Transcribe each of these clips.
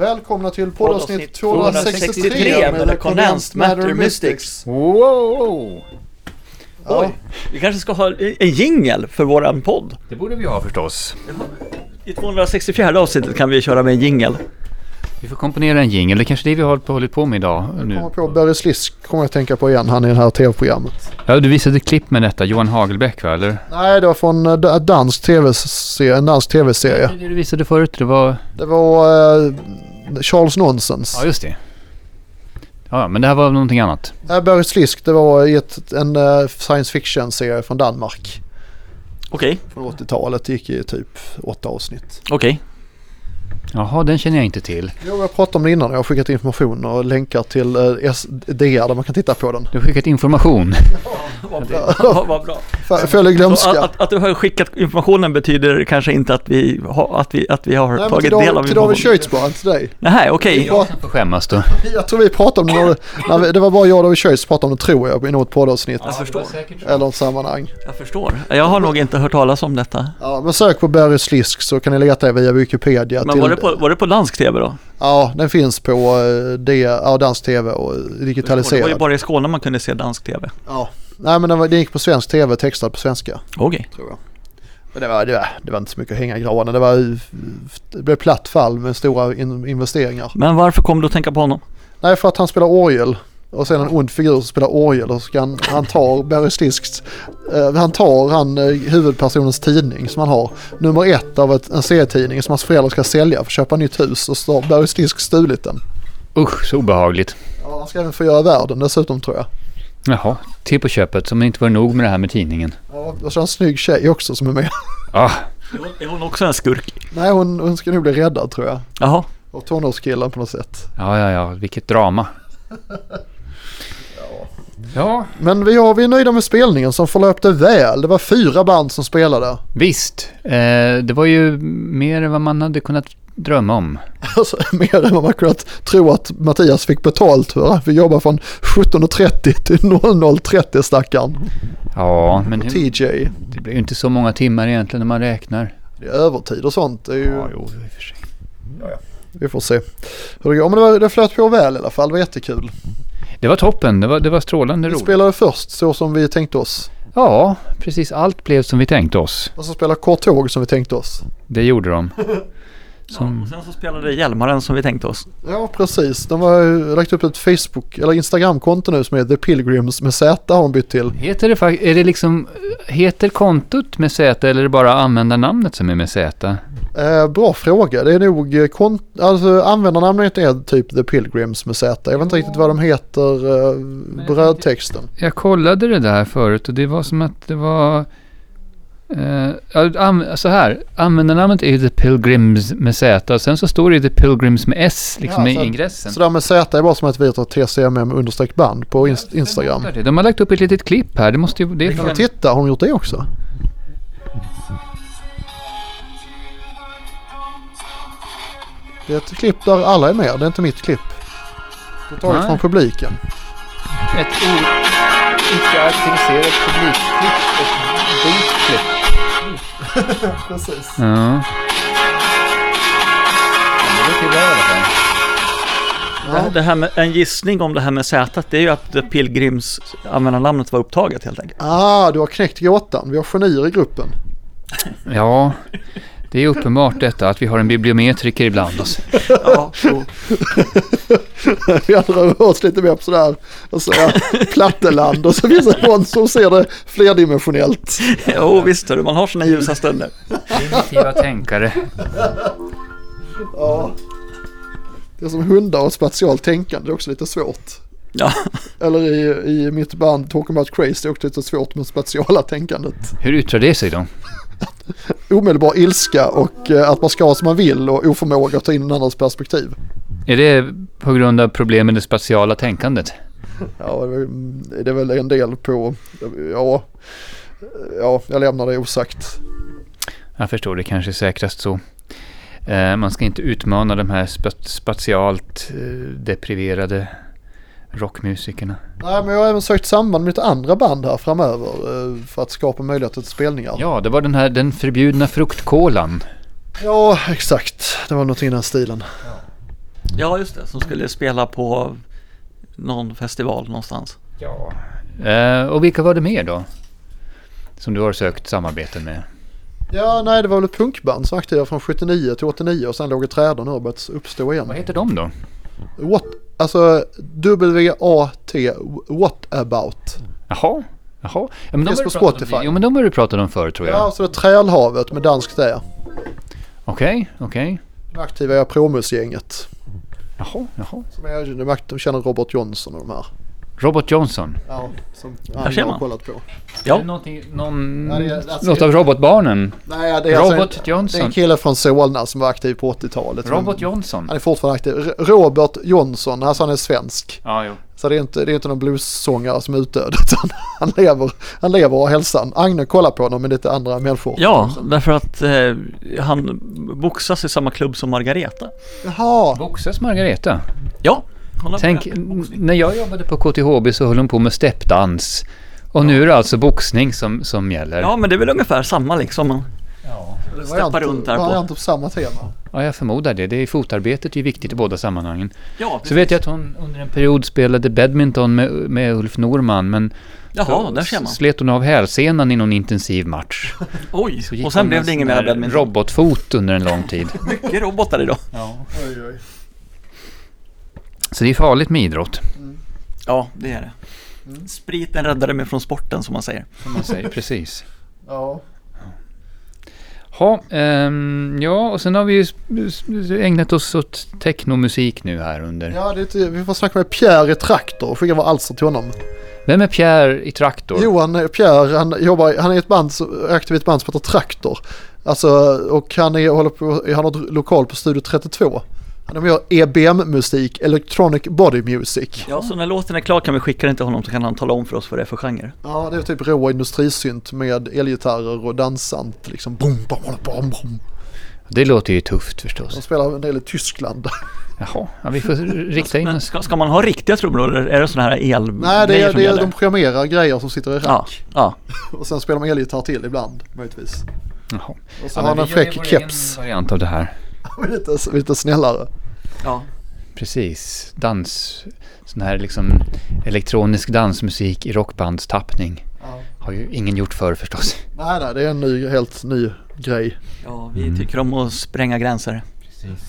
Välkomna till poddavsnitt 263 263 med The Condensed Matter Mystics. Wow! Ja. Oj, vi kanske ska ha en jingel för våran podd. Det borde vi ha förstås. I 264 avsnittet kan vi köra med en jingel. Vi får komponera en jingel. Det är kanske det vi har hållit på- hållit på med idag. Kommer Nu. på Börje Slisk kommer jag att tänka på igen, han i det här tv-programmet. Ja, du visade ett klipp med detta. Johan Hagelbäck va? Eller? Nej, det var från eh, d- dansk TV-serie, en dansk tv-serie. Det du visade förut, det var... Det var eh, Charles Nonsens. Ja, just det. Ja, men det här var någonting annat. Nej, Börje Slisk, det var i ett, en eh, science fiction-serie från Danmark. Okej, Från 80-talet, det gick i typ åtta avsnitt. okej. Jaha, den känner jag inte till. Jo, jag pratade om det innan, jag har skickat information och länkar till eh, S- DR där man kan titta på den. Du har skickat information. Vad bra. Vad- vad bra. F- Följ Så glömska. att, att du har skickat informationen betyder kanske inte att vi, har- att vi, att vi har Nej, men tagit till del av David, till David informationen. Schöitz bara, inte dig. Nej, okej. Ja. Får skämmas då. Jag tror vi pratade om det, när- när vi, det var bara jag och David Schöitz som pratade om det tror jag i något poddavsnitt. Jag förstår. Eller något sammanhang. Jag förstår. Jag har nog inte hört talas om detta. Ja, men sök på Barry Slisk så kan ni leta er via Wikipedia. Men till- var det på, var det på dansk tv då? Ja, den finns på eh, det, ja, dansk tv och Det var ju digitaliserad. bara i Skåne man kunde se dansk tv. Ja. Nej, men den, var, den gick på svensk tv, textad på svenska. Okej. Tror jag. Men det var, det, var, det var inte så mycket att hänga i granen. Det, var, ju- det blev platt fall med stora in, investeringar. Men varför kom du att tänka på honom? Nej, för att han spelar orgel. Och sen en ond figur som spelar orgel och så kan han tar Barry Slisks, eh, han tar han eh, huvudpersonens tidning som han har, nummer ett av ett, en serietidning som hans föräldrar ska sälja för att köpa nytt hus och så har Barry Slisk stulit den. Usch, så obehagligt. Ja, han ska även förgöra världen dessutom tror jag. Jaha, till på köpet. Som det inte var nog med det här med tidningen. Ja, och så har han en snygg tjej också som är med. Ah, Är hon också en skurk? Nej, hon, hon ska nog bli räddad tror jag. Jaha. Av tonårskillen på något sätt. ja, ja, ja. Vilket drama. Ja, Men vi, ja, vi är nöjda med spelningen som förlöpte väl. Det var fyra band som spelade. visst. Eh, det var ju mer än vad man hade kunnat drömma om. Alltså, mer än vad man kunnat tro att Mattias fick betalt för. Vi jobbar från 17.30 till 00.30 stackaren. Ja, men hur- TJ. det blir ju inte så många timmar egentligen när man räknar. Det är övertid och sånt. Det är ju, jo, i och för sig. vi får se hur det går. Men det, var, det flöt på väl i alla fall. Det var jättekul. Det var toppen, det var, det var strålande Vi roligt. spelade först så som vi tänkte oss. Ja, precis allt blev som vi tänkte oss. Och så spelade Kortåg som vi tänkte oss. Det gjorde de. Ja, och sen så spelade Hjälmaren som vi tänkte oss. Ja, precis. De har ju lagt upp ett Facebook eller Instagramkonto nu som är The Pilgrims med Z har de bytt till. Heter det faktiskt, är det liksom, heter kontot med Z eller är det bara användarnamnet som är med Z? Eh, bra fråga. Det är nog eh, kont- alltså, användarnamnet är typ The Pilgrims med Z. Jag vet inte riktigt vad de heter eh, brödtexten. Jag kollade det där förut och det var som att det var, eh, ja, an, så här, användarnamnet är ju The Pilgrims med Z och sen så står det ju The Pilgrims med S liksom Ja, i så- ingressen. Så det här med Z är bara som att vi heter TCMM understreck band på inst- Instagram. De har lagt upp ett litet klipp här, det måste ju, det är Och från, titta, har de gjort det också? Det är ett klipp där alla är med. Det är inte mitt klipp. Det är taget Nej. från publiken. Ett o- icke-auktoriserat publikklipp. Ett botklipp. Precis. Ja. Det, det här med, en gissning om det här med Z, det är ju att The Pilgrims användarnamnet var upptaget helt enkelt. Ah, du har knäckt gåtan. Vi har genier i gruppen. ja, det är uppenbart detta att vi har en bibliometriker ibland oss. Ja, jo. Vi andra har hört lite mer på sådär, och så platteland och så finns det någon som ser det flerdimensionellt. jo visst hörru, man har sina ljusa stunder. Primitiva tänkare. Ja. Det är som hundar och spatialt tänkande, det är också lite svårt. Ja, Eller i, i mitt band Talking About Crazy, det är också lite svårt med spatiala tänkandet. Hur yttrar det sig då? Omedelbar ilska och eh, att man ska ha som man vill och oförmåga att ta in en annans perspektiv. Är det på grund av problem med det spatiala tänkandet? Ja, det är väl- det är väl en del på, ja, ja, jag lämnar det osagt. Jag förstår det kanske är säkrast så. Eh, man ska inte utmana de här spa- spatialt eh, depriverade rockmusikerna. Nej, men jag har även sökt samband med lite andra band här framöver eh, för att skapa möjligheter till spelningar. Ja. Ja, det var den här den förbjudna fruktkolan. ja, exakt. Det var någonting i den här stilen. Ja, just det. Som skulle spela på någon festival någonstans. Ja. Eh, och vilka var det mer då? Som du har sökt samarbeten med? Ja, nej det var väl ett punkband som var aktiva från 79 till 89 och sen låg i träden och har börjat uppstå igen. Vad heter de då? What, alltså W-A-T, What About. Jaha. Jaha. Ja, men Finns har på du pratat om- Spotify. Jo, men de har du pratat om förr tror jag. Ja, och så det är Trälhavet med danskt där. Okej, okej. De aktiva är Promusgänget. Jaha, jaha. Som är, de, akt- de känner Robert Johnson och de här. Robert Johnson. Ja, som Där ser andra har man. kollat på. Ja. Är det någonting- Någon, Ja, det är- alltså- något av robotbarnen. Nej, det är alltså Robert en, Johnson. Det är en kille från Solna som var aktiv på 80-talet. Men Robert Johnson. Alltså- Han är fortfarande aktiv. R- Robert Johnson, alltså han är svensk. Ja, jo. Så det är inte, det är inte någon bluessångare som är utdöd utan han lever, han lever och har hälsan. Agne kollar på honom med lite andra människor. Ja, därför att eh, han boxas i samma klubb som Margareta. Jaha, Boxas Margareta. Ja, hon har Tänk, berättat om boxning. när jag jobbade på KTHB så höll hon på med steppdans. Och nu är det alltså boxning som, som gäller. Ja, men det är väl ungefär samma liksom. Man Ja. steppar runt där på. Varianter på samma tema. ja, jag förmodar det. Det är fotarbetet är ju viktigt i båda sammanhangen. Ja, Så precis. vet jag att hon under en period spelade badminton med, med Ulf Norman, men Jaha, så där ser man. slet hon av hälsenan i någon intensiv match. Oj, Så gick och hon sen med blev det ingen sån mer här badminton. Robotfot under en lång tid. Mycket robotar idag. Oj, oj. Så det är farligt med idrott, Mm. Ja, det är det. Mm. Spriten räddade mig från sporten som man säger. som man säger. Precis. Ja. Ha, ehm, ja, och sen har vi ju s- s- ägnat oss åt technomusik nu här under. ja det, är inte- vi får snacka med Pierre i Traktor och skicka våra alster till honom. Vem är Pierre i Traktor? Johan eh, Pierre, han, jobbar, han är i ett band, som- aktiv i ett band som heter Traktor. Alltså, och han, är, håller på, han har ett lokal på Studio 32. De gör EBM-musik, Electronic Body Music. Ja, så när låten är klar kan vi skicka den till honom så kan han tala om för oss vad det är för genre. Ja, det är typ rå industrisynt med elgitarrer och dansant liksom. Boom, bom, bom, bom, bom. Det låter ju tufft De förstås. spelar en del i Tyskland. Jaha, ja, vi får rikta in Men oss. ska, ska man ha riktiga trummor eller är det sådana här el Nej, det är, som det är, gäller? de programmerar grejer som sitter i Ja, rack. ja. Och sen spelar de elgitarr till ibland, möjligtvis. Jaha. Och så har han en fräck keps. variant av det här. lite, lite snällare. ja. Precis, dans, sån här liksom elektronisk dansmusik i rockbandstappning. Har ju ingen gjort förr förstås. Nej, nej, det är en ny, helt ny grej. Ja, vi tycker om att spränga gränser.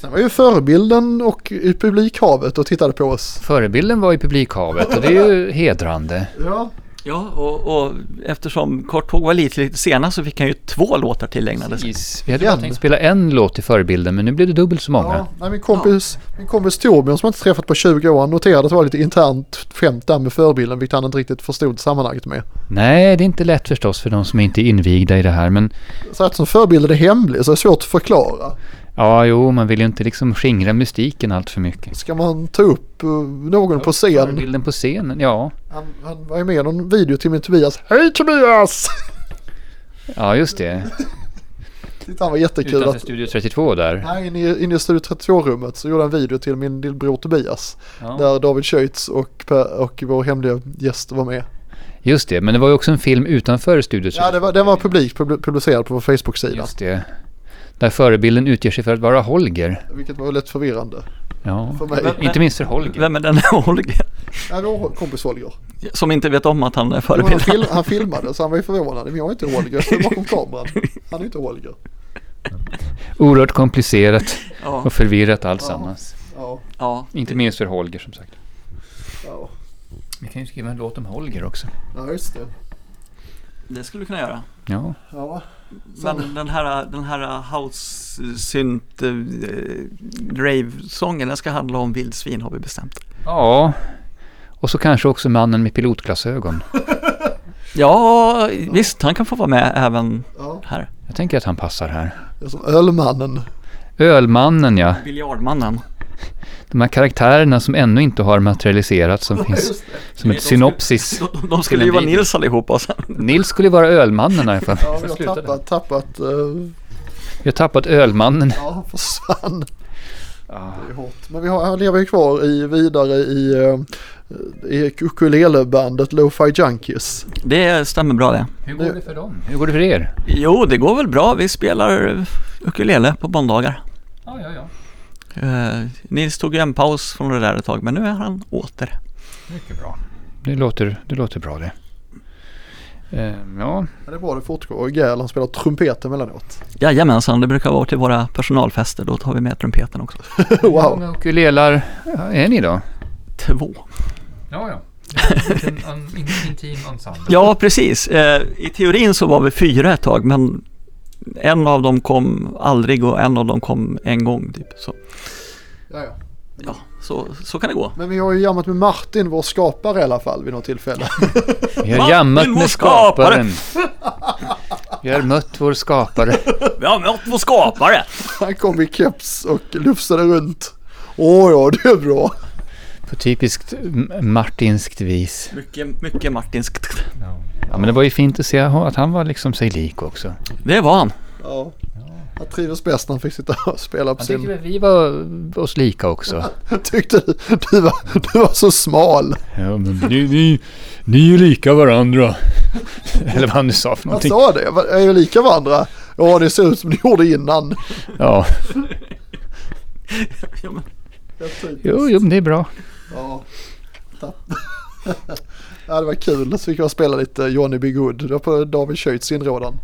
Sen var ju förebilden och i publikhavet och tittade på oss. Förebilden var i publikhavet och det är ju hedrande. Ja, Ja, och, och eftersom Kort Tåg var lite, lite sena så fick han ju två låtar tillägnade sig. Precis. Vi hade bara Igen. tänkt spela en låt i förebilden men nu blev det dubbelt så många. ja. Nej, min, kompis, min kompis Torbjörn som jag inte träffat på 20 år han noterade att det var lite internt skämt där med förebilden vilket han inte riktigt förstod sammanhanget med. Nej, det är inte lätt förstås för de som inte är invigda i det här men Så eftersom förebilden är hemlig så är det svårt att förklara. ja, jo, man vill ju inte liksom skingra mystiken allt för mycket. Ska man ta upp eh, någon på scen? Förebilden på scenen, ja. Han, han var ju med i någon video till min Tobias. Hej Tobias! Ja, just det. Titta han var jättekul. Utanför Att, Studio 32 där. här inne i, inne i Studio 32-rummet så gjorde han en video till min lillebror Tobias. Där David Schütz och, Per- och vår hemliga gäst var med. Just det, men det var ju också en film utanför Studio 32. Ja, det var, den var publik pub- publicerad på vår Facebook-sida. Just det. Där förebilden utger sig för att vara Holger. Vilket var lite förvirrande Ja, för mig. Vem- inte minst för Holger. Vem är den här Holger? Ja, det var kompis Holger. Som inte vet om att han är Jo, Han, fil förebilden. han filmade så han var ju förvånad. Men jag är inte Holger, jag står bakom kameran. Han är inte Holger. Oerhört komplicerat Ja, och förvirrat alltsammans. Ja, ja. Inte minst för Holger som sagt. ja. Vi kan ju skriva en låt om Holger också. ja just det. det skulle du kunna göra. Ja, Ja. Men den här, den här house synt eh, rave-sången, den ska handla om vildsvin har vi bestämt. ja. Och så kanske också mannen med pilotglasögon. Ja, visst, han kan få vara med även ja. här. Jag tänker att han passar här. Det är som Ölmannen. Ölmannen ja. Biljardmannen. De här karaktärerna som ännu inte har materialiserats som finns som ett synopsis. De, de skulle ju vara Nils allihopa och sen. Nils skulle ju vara ölmannen här för Ja, vi har tappat, tappat, eh, Vi har tappat ölmannen. ja han försvann. Ja. Det är hårt. Men vi har, han lever ju kvar i, vidare i, eh, i ukulelebandet Lo-Fi Junkies. Det stämmer bra det. Hur går det för dem? Hur går det för er? Jo, det går väl bra. Vi spelar ukulele på eh, måndagar. Ja, ja, ja. Eh, Nils tog ju en paus från det där ett tag, men nu är han åter. Mycket bra. Det låter, det låter bra det. Eh, ja, Men det är bra det fortgår. Och Gäll han spelar trumpet emellanåt. Jajamensan, det brukar vara till våra personalfester. Då tar vi med trumpeten också. hur wow. många ukulelar är ni då? Två. Ja, ja. En intim ensemble. Ja, precis. Eh, I teorin så var vi fyra ett tag, men en av dem kom aldrig och en av dem kom en gång. Typ. Så, Ja, ja. ja, så, så kan det gå. Men vi har ju jammat med Martin, vår skapare i alla fall vid något tillfälle. Vi har Martin, jammat vår med skaparen. Vi har mött vår skapare. Vi har mött vår skapare. Han kom i keps och lufsade runt. Åh ja, det är bra. På typiskt m- martinskt vis. Mycket, mycket Martinskt. Ja, men det var ju fint att se att han var liksom sig lik också. Det var han. Ja. Han trivdes bäst när han fick sitta och spela på Han sin... tyckte väl vi var oss lika också. Tyckte du, du, var, du var så smal. Ja, men ni, ni, ni är ju lika varandra. Eller vad han nu sa för Han någonting. sa det. Jag var- Är vi lika varandra? Ja, det ser ut som det gjorde innan. Ja, Ja, men jo, jo, men det är bra. Ja. Tapp. ja, det var kul. Så fick jag spela lite Johnny B. Good. Det var på David Schütz inrådan.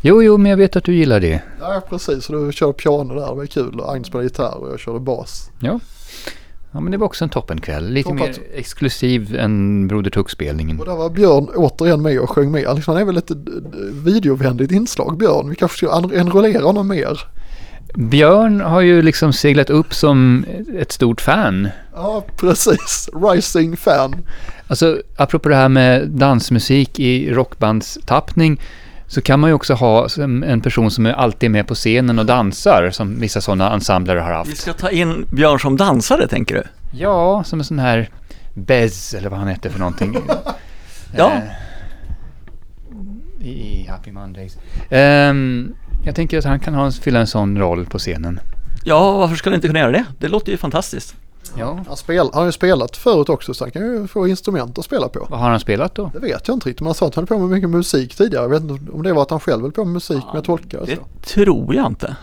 Jo, jo, men jag vet att du gillar det. Ja, precis. Så du körde piano där. Det var kul. Och Agnes spelade gitarr och jag körde bas. Ja, men det var också en toppenkväll. Lite Hoppas- mer exklusiv än Broder Tuck-spelningen. Och där var Björn återigen med och sjöng med. Han liksom, han är väl ett eh, videovänligt inslag, Björn. Vi kanske ska en- enrollera honom mer. Björn har ju liksom seglat upp som ett stort fan. Ja, precis. Rising fan. Alltså, apropå det här med dansmusik i rockbandstappning så kan man ju också ha som en person som är alltid med på scenen och dansar, som vissa sådana ensembler har vi haft. ska ta in Björn som dansare, tänker du? Ja, som en sån här Bez, eller vad han hette för någonting. Ja. Eh, I Happy Mondays. Ehm, jag tänker att han kan ha, fylla en sån roll på scenen. Ja, varför skulle jag inte kunna göra det? Det låter ju fantastiskt. Ja. Han, spel, han har ju spelat förut också så han kan ju få instrument att spela på. Vad har han spelat då? Det vet jag inte riktigt. Man sa att han höll på med mycket musik tidigare. Jag vet inte om det var att han själv höll på med musik, men jag tolkar det Det så. tror jag inte.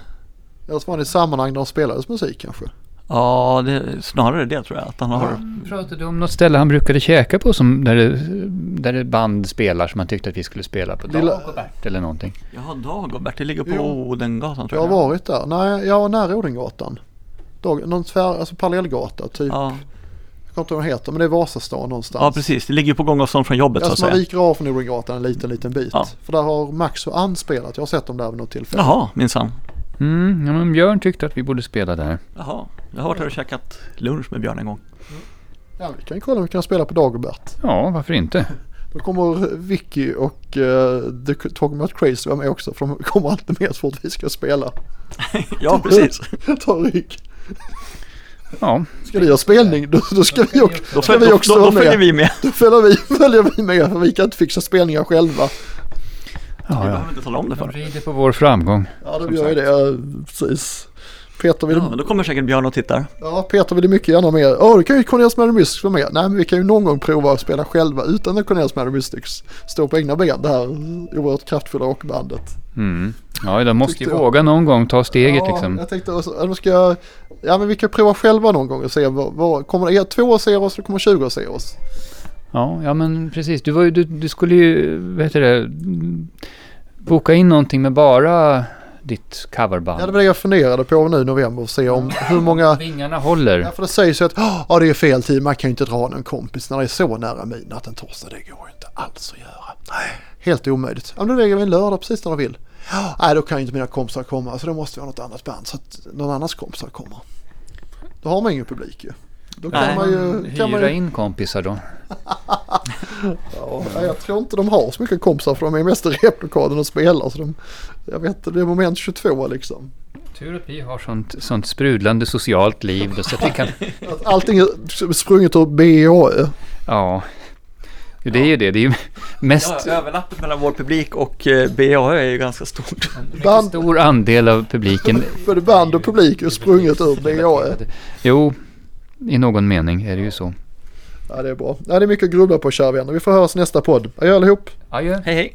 Eller så var det i sammanhang där han spelades musik kanske. Ja, det är snarare det tror jag att han har. Pratade du om något ställe han brukade käka på som där, det, där det band spelar som han tyckte att vi skulle spela på? Lilla- Dagobert eller någonting. Ja, Dagobert, det ligger på Jo. Odengatan Jag tror har jag. varit där. Nej, jag var nära Odengatan. Dag, någon tvär, alltså parallellgata typ. Ja, Jag kommer inte ihåg vad den heter, men det är Vasastan någonstans. ja, precis. Det ligger ju på gångavstånd från jobbet så att Alltså man säga. viker av från Odengatan en liten, liten bit. Ja. För där har Max och Ann spelat. Jag har sett dem där vid något tillfälle. Jaha, minsann. Mm, ja, men Björn tyckte att vi borde spela där. Jaha, jag har varit här och käkat lunch med Björn en gång. Ja, vi kan ju kolla om vi kan spela på Dagobert. Ja, varför inte? Då kommer Vicky och uh, The Talking About Crazy vara med också. För de kommer alltid med så fort vi ska spela. Ja, precis. Ta rygg. Ja, Ska ni göra spelning då, då ska vi också, Då, ska följer- vi också då, då, vara då följer med. vi med. Då följer vi, följer vi med för vi kan inte fixa spelningar själva. Vi ja, ja. behöver inte tala om det för De rider på vår framgång. Ja, de gör ju det. ja, Precis. Peter vill, Ja, men ja. då kommer säkert Björn och tittar. Peter vill ju mycket gärna med. Åh, då kan ju Cornelis Mad Mystics vara med. Nej, men vi kan ju någon gång prova att spela själva utan att Cornelis Mad Mystics står på egna ben. Det här oerhört kraftfulla rockbandet. Mm. Ja, de måste ju Tyckte jag. våga någon gång ta steget ja, liksom. Jag tänkte också, ja, men ska, ja men vi kan prova själva någon gång och se vad, vad kommer er två att se oss eller kommer 20 att se oss? Ja, ja men precis. Du, var ju, du, du skulle ju, vad heter det, mm, boka in någonting med bara ditt coverband. Ja det var det jag funderade på nu i november och se Mm. om hur många Vingarna håller. Ja, för det sägs ju att oh, det är fel tid, man kan ju inte dra någon kompis när det är så nära midnatt en torsdag. Det går ju inte alls att göra. Nej, helt omöjligt. Ja, men då lägger vi en lördag precis när de vill. Ja, nej, då kan ju inte mina kompisar komma så då måste vi ha något annat band så att någon annans kompisar kommer. Då har man ingen publik ju. Då kan Nej. man ju... Hyra Kan man ju in kompisar då. Ja, nej, jag tror inte de har så mycket kompisar för de är mest i replokalen och spelar. Så de, jag vet inte, det är moment 22 liksom. Tur att vi har sånt, sånt sprudlande socialt liv då, så att vi kan... Att Allting är sprunget ur B E. och Ö. Ja. Jo, det är ju det. Det är ju mest... överlappet mellan vår publik och eh, BAE är ju ganska stort. En Band, stor andel av publiken. både band och publik är sprunget ur B E. och Ö. Jo, i någon mening är det ju så. Ja, det är bra. Ja, det är mycket att grubbla på kära vänner. Vi får höras nästa podd. Adjö allihop. Adjö. Hej hej.